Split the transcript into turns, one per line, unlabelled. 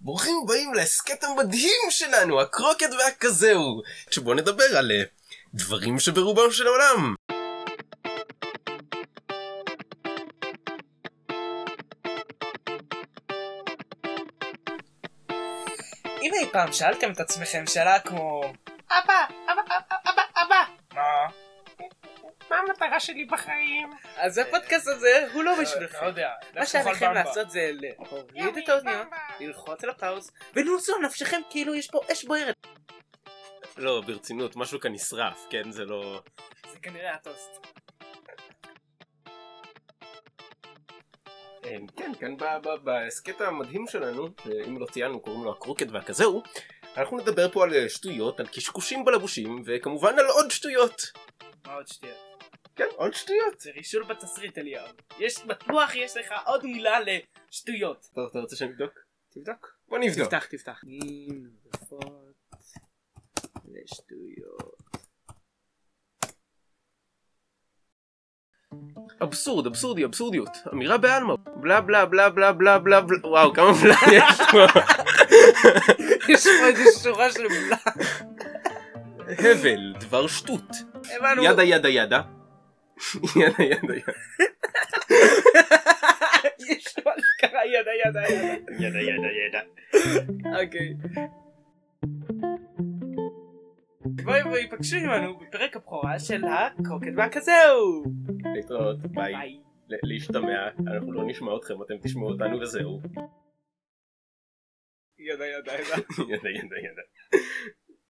ברוכים הבאים להסכת המדהים שלנו, הקרוקט והכזהו, שבו נדבר על אה, דברים שברובם של העולם.
אם אי פעם שאלתם את עצמכם שאלה כמו אבא, אבא, אבא, אבא, אבא, מה?
מה המטרה שלי בחיים?
אז הפודקאסט הזה הוא לא בשבילכם.
לא יודע.
מה שעליכם לעשות זה להוריד את האוזניות, ללחוץ על הפאוז, ולנוסו על נפשכם כאילו יש פה אש בוערת.
לא, ברצינות, משהו כאן נשרף, כן? זה לא...
זה כנראה הטוסט.
אה, כן, כאן ב- ב- בהסכת המדהים שלנו, שאם לא ציינו קוראים לו הקרוקט והכזהו, אנחנו נדבר פה על אה, שטויות, על קשקושים בלבושים, וכמובן על עוד שטויות.
מה עוד שתייה?
כן, עוד שטויות.
זה רישול בתסריט אליהו. יש, בטוח יש לך עוד מילה לשטויות.
טוב, אתה רוצה שנבדוק? תבדוק. בוא נבדוק.
תפתח, תפתח. מילים, רדפות, ושטויות.
אבסורד, אבסורדי, אבסורדיות. אמירה בעלמא. בלה בלה בלה בלה בלה בלה בלה. וואו, כמה בלה יש פה.
יש פה איזה שורה של מילה.
הבל, דבר שטות.
הבנו.
ידה ידה ידה. ידה ידה ידה.
יש לו אשכרה ידה ידה ידה.
ידה ידה ידה.
אוקיי. בואי בואי פגשו עמנו בפרק הבכורה של הקרוקט והכזהו.
להתראות, ביי.
ביי.
ל- להשתמע, אנחנו לא נשמע אתכם, אתם תשמעו אותנו וזהו.
ידה ידה ידה.
ידה ידה ידה.